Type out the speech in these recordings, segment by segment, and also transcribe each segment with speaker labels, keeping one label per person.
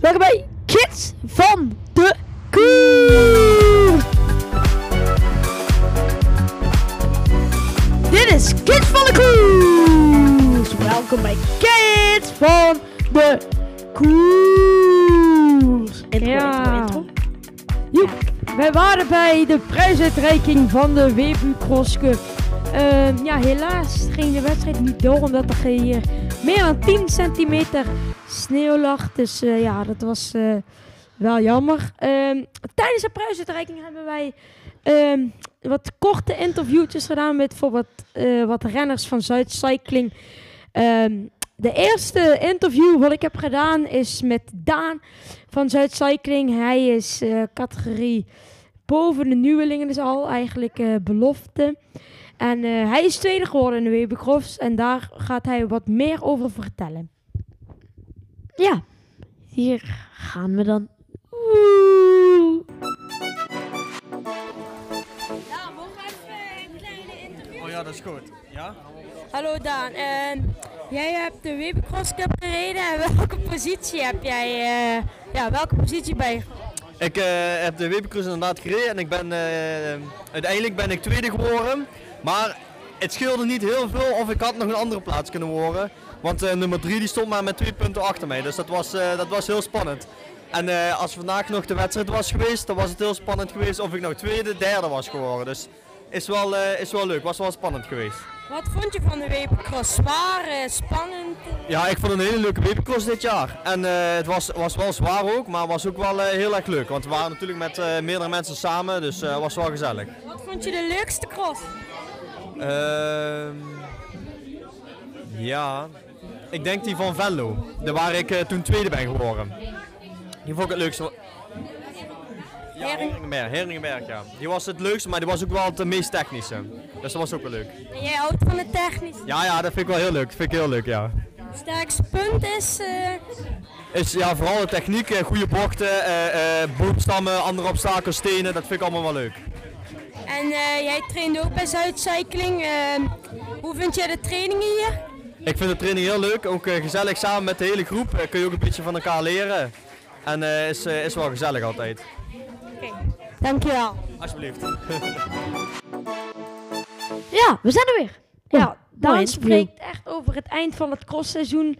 Speaker 1: Welkom bij Kids van de Koer. Dit is Kids van de Koer. Welkom bij Kids van de Koer. Intro,
Speaker 2: Ja.
Speaker 1: intro, intro.
Speaker 2: Joep, wij waren bij de prijsuitreiking van de WPU Cross Cup. Ehm, ja, helaas ging de wedstrijd niet door omdat er hier meer dan 10 centimeter sneeuw lag. Dus eh, ja, dat was eh, wel jammer. Ehm, tijdens de prijsuitreiking hebben wij ehm, wat korte interviewtjes gedaan met bijvoorbeeld eh, wat renners van Zuid Cycling. Ehm, de eerste interview wat ik heb gedaan is met Daan van Zuid Cycling. Hij is eh, categorie boven de nieuwelingen, dus al eigenlijk eh, belofte. En eh, hij is tweede geworden in de Webercross en daar gaat hij wat meer over vertellen.
Speaker 1: Ja, hier gaan we dan.
Speaker 3: Oh ja, dat is goed. Ja?
Speaker 2: Hallo Daan, ehm, jij hebt de Webercross Cup gereden en welke positie heb jij? eh, ja, welke positie bij
Speaker 3: Ik eh, heb de Webercruise inderdaad gereden en ik ben, eh, uiteindelijk ben ik tweede geworden. Maar het scheelde niet heel veel of ik had nog een andere plaats kunnen worden. Want eh, nummer 3 die stond maar met twee punten achter mij. Dus dat was, eh, dat was heel spannend. En eh, als vandaag nog de wedstrijd was geweest, dan was het heel spannend geweest of ik nou tweede, derde was geworden. Dus is wel, eh, is wel leuk, was wel spannend geweest.
Speaker 2: Wat vond je van de Webercross? Zwaar, eh, spannend?
Speaker 3: Ja, ik vond het een hele leuke Webcross dit jaar. En eh, het was, was wel zwaar ook, maar was ook wel eh, heel erg leuk. Want we waren natuurlijk met eh, meerdere mensen samen, dus het was wel gezellig.
Speaker 2: Wat vond je de leukste cross?
Speaker 3: Ehm, ja, ik denk die van Venlo, de waar ik eh, toen tweede ben geworden. Die vond ik het leukste. Ja, Heringenberg, Heringenberg, ja. Die was het leukste, maar die was ook wel het meest technische. Dus dat was ook wel leuk.
Speaker 2: En jij houdt van de technisch.
Speaker 3: Ja, ja, dat vind ik wel heel leuk. Dat vind ik heel leuk, ja.
Speaker 2: Sterkste punt is... eh,
Speaker 3: Is ja, vooral de techniek, eh, goede bochten, eh, eh, boomstammen, andere obstakels, stenen, dat vind ik allemaal wel leuk.
Speaker 2: en eh, jij trainde ook bij Zuidcycling. Ehm, hoe vind jij de trainingen hier?
Speaker 3: Ik vind de training heel leuk, ook eh, gezellig samen met de hele groep. eh, kun je ook een beetje van elkaar leren. En eh, is, eh, is wel gezellig altijd.
Speaker 2: Dankjewel.
Speaker 3: Alsjeblieft.
Speaker 1: Ja, we zijn er weer.
Speaker 2: Ja,
Speaker 1: mooi
Speaker 2: Daan
Speaker 1: interview.
Speaker 2: spreekt echt over het eind van het crossseizoen.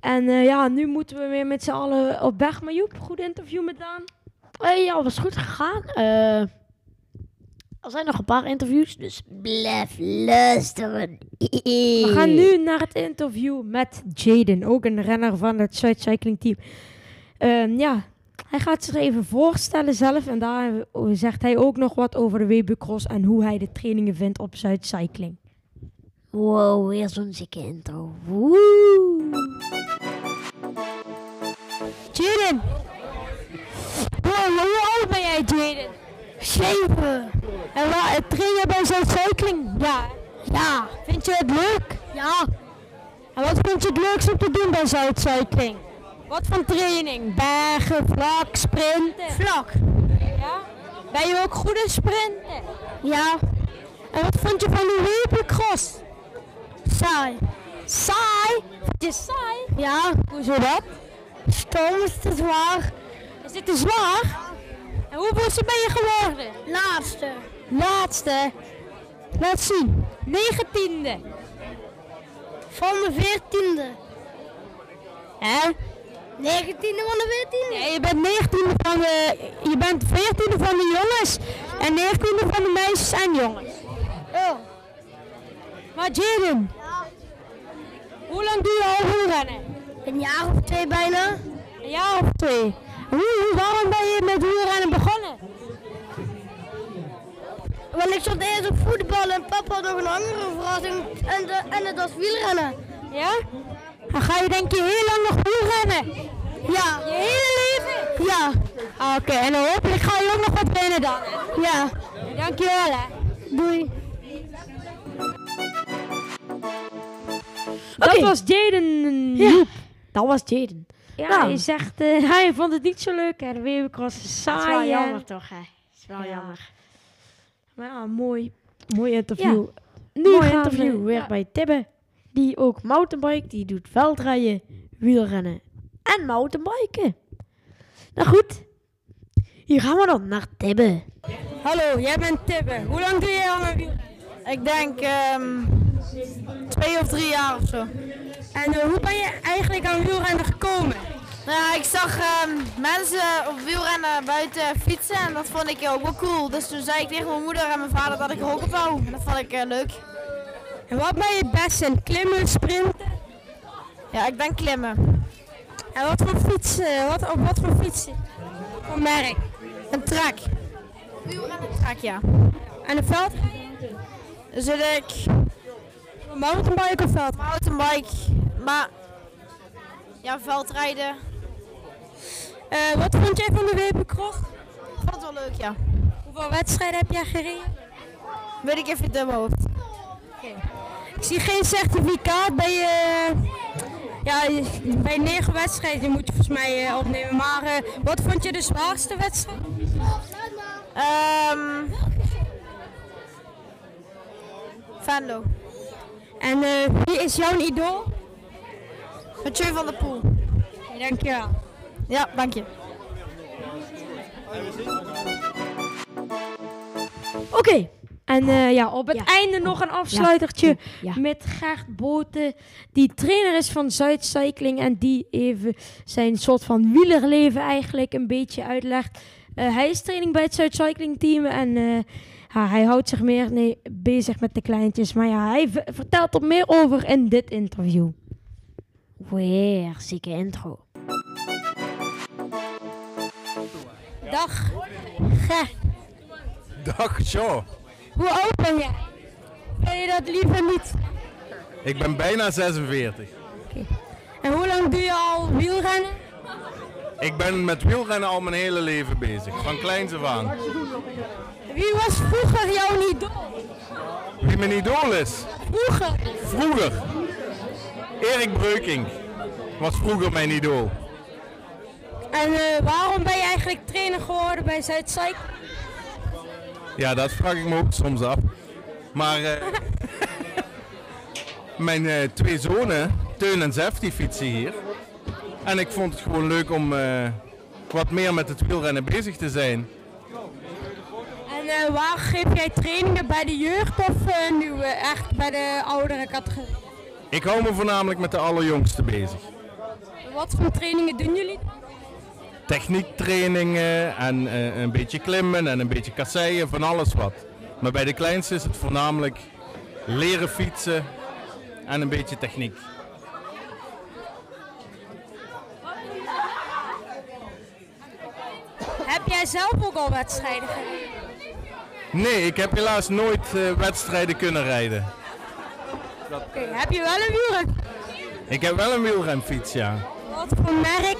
Speaker 2: En eh, ja, nu moeten we weer met z'n allen op weg. Maar Joep, goed interview met Daan.
Speaker 1: Eh, ja, was goed gegaan. Eh, er zijn nog een paar interviews, dus blijf luisteren.
Speaker 2: We gaan nu naar het interview met Jaden, ook een renner van het Zuid Cycling Team. Ehm, ja, hij gaat zich even voorstellen zelf en daar zegt hij ook nog wat over de WB Cross en hoe hij de trainingen vindt op Zuid Cycling.
Speaker 1: Wow, weer zo'n zieke intro. Woe.
Speaker 2: Jaden! Wow, hoe oud ben jij, Jaden? Zeven. En waar train jij bij Zuid Cycling? Ja. Ja. Vind je het leuk? Ja. En wat vind je het leukst om te doen bij Zuid Cycling? Wat voor training? Bergen, vlak, sprinten? Vlak. Ja? Ben je ook goed in sprinten? Ja. En wat vond je van de Webercross? Saai. Saai? Vind je saai? Ja. Hoezo dat? Stom is te zwaar. Is dit te zwaar? En hoeveelste ben je geworden? Laatste. Laatste? Laat zien. Negentiende. Van de veertiende. Hè? Negentiende van de veertiende? Nee, je bent negentiende van de... Je bent veertiende van de jongens. En negentiende van de meisjes en jongens. Oh. Maar Jaden. Hoe lang doe je al wielrennen?
Speaker 4: Een jaar of twee bijna.
Speaker 2: Een jaar of twee. Hoe, waarom ben je met wielrennen begonnen?
Speaker 4: Want ik zat eerst op voetbal en papa had nog een andere verrassing. En, de, en het was wielrennen.
Speaker 2: Ja? Dan ga je denk je heel lang nog wielrennen.
Speaker 4: Ja.
Speaker 2: Je hele leven.
Speaker 4: Ja.
Speaker 2: Ah, Oké, en dan hopelijk ga je ook nog wat binnen dan.
Speaker 4: Ja.
Speaker 2: Dankjewel hè.
Speaker 4: Doei.
Speaker 2: Dat
Speaker 1: Oké.
Speaker 2: was Jaden.
Speaker 1: Ja, dat was Jaden.
Speaker 2: Ja,
Speaker 1: Nou.
Speaker 2: hij zegt, eh, hij vond het niet zo leuk en Webercross is saai.
Speaker 4: Dat is wel
Speaker 2: en-
Speaker 4: jammer toch, hè? Dat is wel
Speaker 2: Ja.
Speaker 4: jammer.
Speaker 2: Maar ja, mooi.
Speaker 1: Mooi interview.
Speaker 2: Nu
Speaker 1: Mooi
Speaker 2: gaan we-
Speaker 1: interview weer
Speaker 2: ja.
Speaker 1: bij Tibbe. Die ook mountainbike, die doet veldrijden, wielrennen en mountainbiken. Nou goed, hier gaan we dan naar Tibbe.
Speaker 4: Hallo, jij bent Tibbe. Hoe lang doe jij al aan wielrennen?
Speaker 5: Ik denk ehm, twee of drie jaar of zo.
Speaker 4: En eh, hoe ben je eigenlijk aan wielrennen gekomen?
Speaker 5: Nou ja, ik zag ehm, mensen op wielrennen buiten fietsen en dat vond ik ook wel cool. Dus toen zei ik tegen mijn moeder en mijn vader dat ik er ook op wou. En dat vond ik eh, leuk.
Speaker 4: En wat ben je best in? Klimmen, sprinten?
Speaker 5: Ja, ik ben klimmen.
Speaker 4: En wat voor fietsen? Wat, op wat voor fietsen? Voor merk? Een trek.
Speaker 5: Wielrennen ga ik ja.
Speaker 4: En een veld?
Speaker 5: Dus zit ik
Speaker 4: Een mountainbike of veld?
Speaker 5: mountainbike, maar ja, veldrijden.
Speaker 4: Eh, wat vond jij van de Weberkrog?
Speaker 5: Vond het wel leuk, ja.
Speaker 4: Hoeveel wedstrijden heb jij gereden?
Speaker 5: Weet ik even uit mijn hoofd.
Speaker 4: Ik zie geen certificaat bij je. Ja, bij negen wedstrijden moet je volgens mij eh, opnemen. Maar eh, wat vond je de zwaarste wedstrijd?
Speaker 5: Ehm Venlo.
Speaker 4: En eh, wie is jouw idool?
Speaker 5: Mathieu van der Poel.
Speaker 4: Dankjewel.
Speaker 5: Ja, dank je.
Speaker 1: Oké,
Speaker 2: En eh, ja, op het
Speaker 1: Ja.
Speaker 4: Oh.
Speaker 2: einde nog een afsluitertje
Speaker 1: ja.
Speaker 2: met Gert Boten, die trainer is van Zuidcycling en die even zijn soort van wielerleven eigenlijk een beetje uitlegt. Eh, hij is training bij het Zuidcycling team en eh, ja, hij houdt zich meer nee, bezig met de kleintjes. Maar ja, hij v- vertelt er meer over in dit interview.
Speaker 1: weer zieke intro.
Speaker 4: Dag. Ge.
Speaker 6: Dag Jo,
Speaker 4: Hoe oud ben jij? Wil je dat liever niet?
Speaker 6: ik ben bijna 46.
Speaker 4: En hoe lang doe je al wielrennen?
Speaker 6: Ik ben met wielrennen al mijn hele leven bezig, van kleins af aan.
Speaker 4: Wie was vroeger jouw idool?
Speaker 6: Wie mijn idool is?
Speaker 4: Vroeger.
Speaker 6: Vroeger. Erik Breukink was vroeger mijn idool.
Speaker 4: En eh, waarom ben je eigenlijk trainer geworden bij Zuidcycling?
Speaker 6: Ja, dat vraag ik me ook soms af. Maar eh, mijn eh, twee zonen, Teun en Zef, die fietsen hier. En ik vond het gewoon leuk om eh, wat meer met het wielrennen bezig te zijn.
Speaker 4: En eh, waar geef jij trainingen bij de jeugd of eh, nu eh, echt bij de oudere categorie?
Speaker 6: Ik hou me voornamelijk met de allerjongste bezig.
Speaker 4: Wat voor trainingen doen jullie?
Speaker 6: techniektrainingen en eh, een beetje klimmen en een beetje kasseien, van alles wat. Maar bij de kleinste is het voornamelijk leren fietsen en een beetje techniek.
Speaker 4: Heb jij zelf ook al wedstrijden gereden?
Speaker 6: Nee, ik heb helaas nooit eh, wedstrijden kunnen rijden.
Speaker 4: Oké, Heb je wel een wielren?
Speaker 6: Ik heb wel een wielrenfiets, ja.
Speaker 4: Wat voor merk?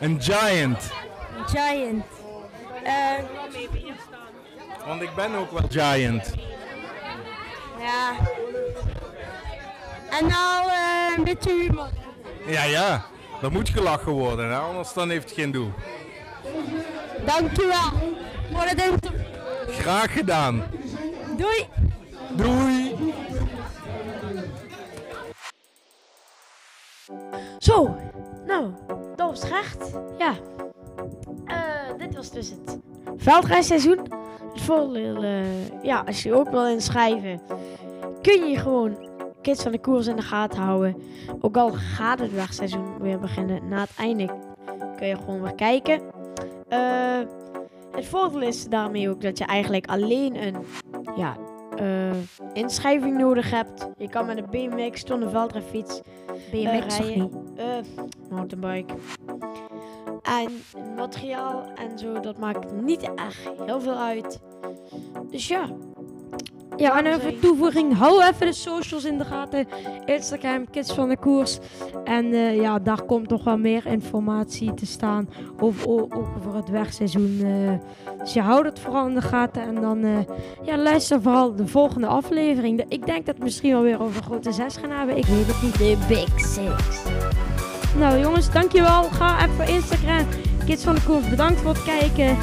Speaker 6: Een Giant.
Speaker 4: Giant. Eh,
Speaker 6: Want ik ben ook wel Giant.
Speaker 4: ja. En nou eh, een beetje humor.
Speaker 6: Ja, ja. Dat moet gelachen worden, hè? anders dan heeft het geen doel.
Speaker 4: Dankjewel voor het interview.
Speaker 6: Graag gedaan.
Speaker 4: Doei.
Speaker 6: Doei!
Speaker 1: Zo, nou, dat was recht. Ja. Eh, dit was dus het veldrijseizoen. Het voordeel, eh, ja, als je je ook wil inschrijven, kun je gewoon kids van de koers in de gaten houden. Ook al gaat het wegseizoen weer beginnen, na het einde kun je gewoon weer kijken. Eh, het voordeel is daarmee ook dat je eigenlijk alleen een ja, eh, inschrijving nodig hebt. Je kan met een BMX, zonder veldrijfiets, BMX
Speaker 2: zag
Speaker 1: rijden. eh, mountainbike. En materiaal en zo, dat maakt niet echt heel veel uit. Dus ja,
Speaker 2: Ja, en
Speaker 1: Daarom
Speaker 2: even
Speaker 1: zei ik-
Speaker 2: toevoeging. Hou even de socials in de gaten. Instagram, Kids van de Koers. En eh, ja, daar komt nog wel meer informatie te staan. Of o- ook voor het wegseizoen. eh. dus je houdt het vooral in de gaten. En dan eh, ja, luister vooral de volgende aflevering. De- ik denk dat we misschien wel weer over een grote zes gaan hebben. Ik weet het niet.
Speaker 1: de Big Six.
Speaker 2: Nou jongens, dankjewel. Ga even op Instagram. Kids van de Koers, bedankt voor het kijken.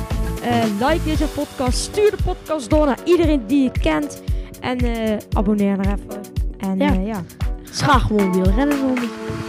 Speaker 2: Eh, like deze podcast. Stuur de podcast door naar iedereen die je kent. En eh, abonneer er even. En
Speaker 1: Ja.
Speaker 2: eh, ja.
Speaker 1: Schaag gewoon wielrennen, zombie.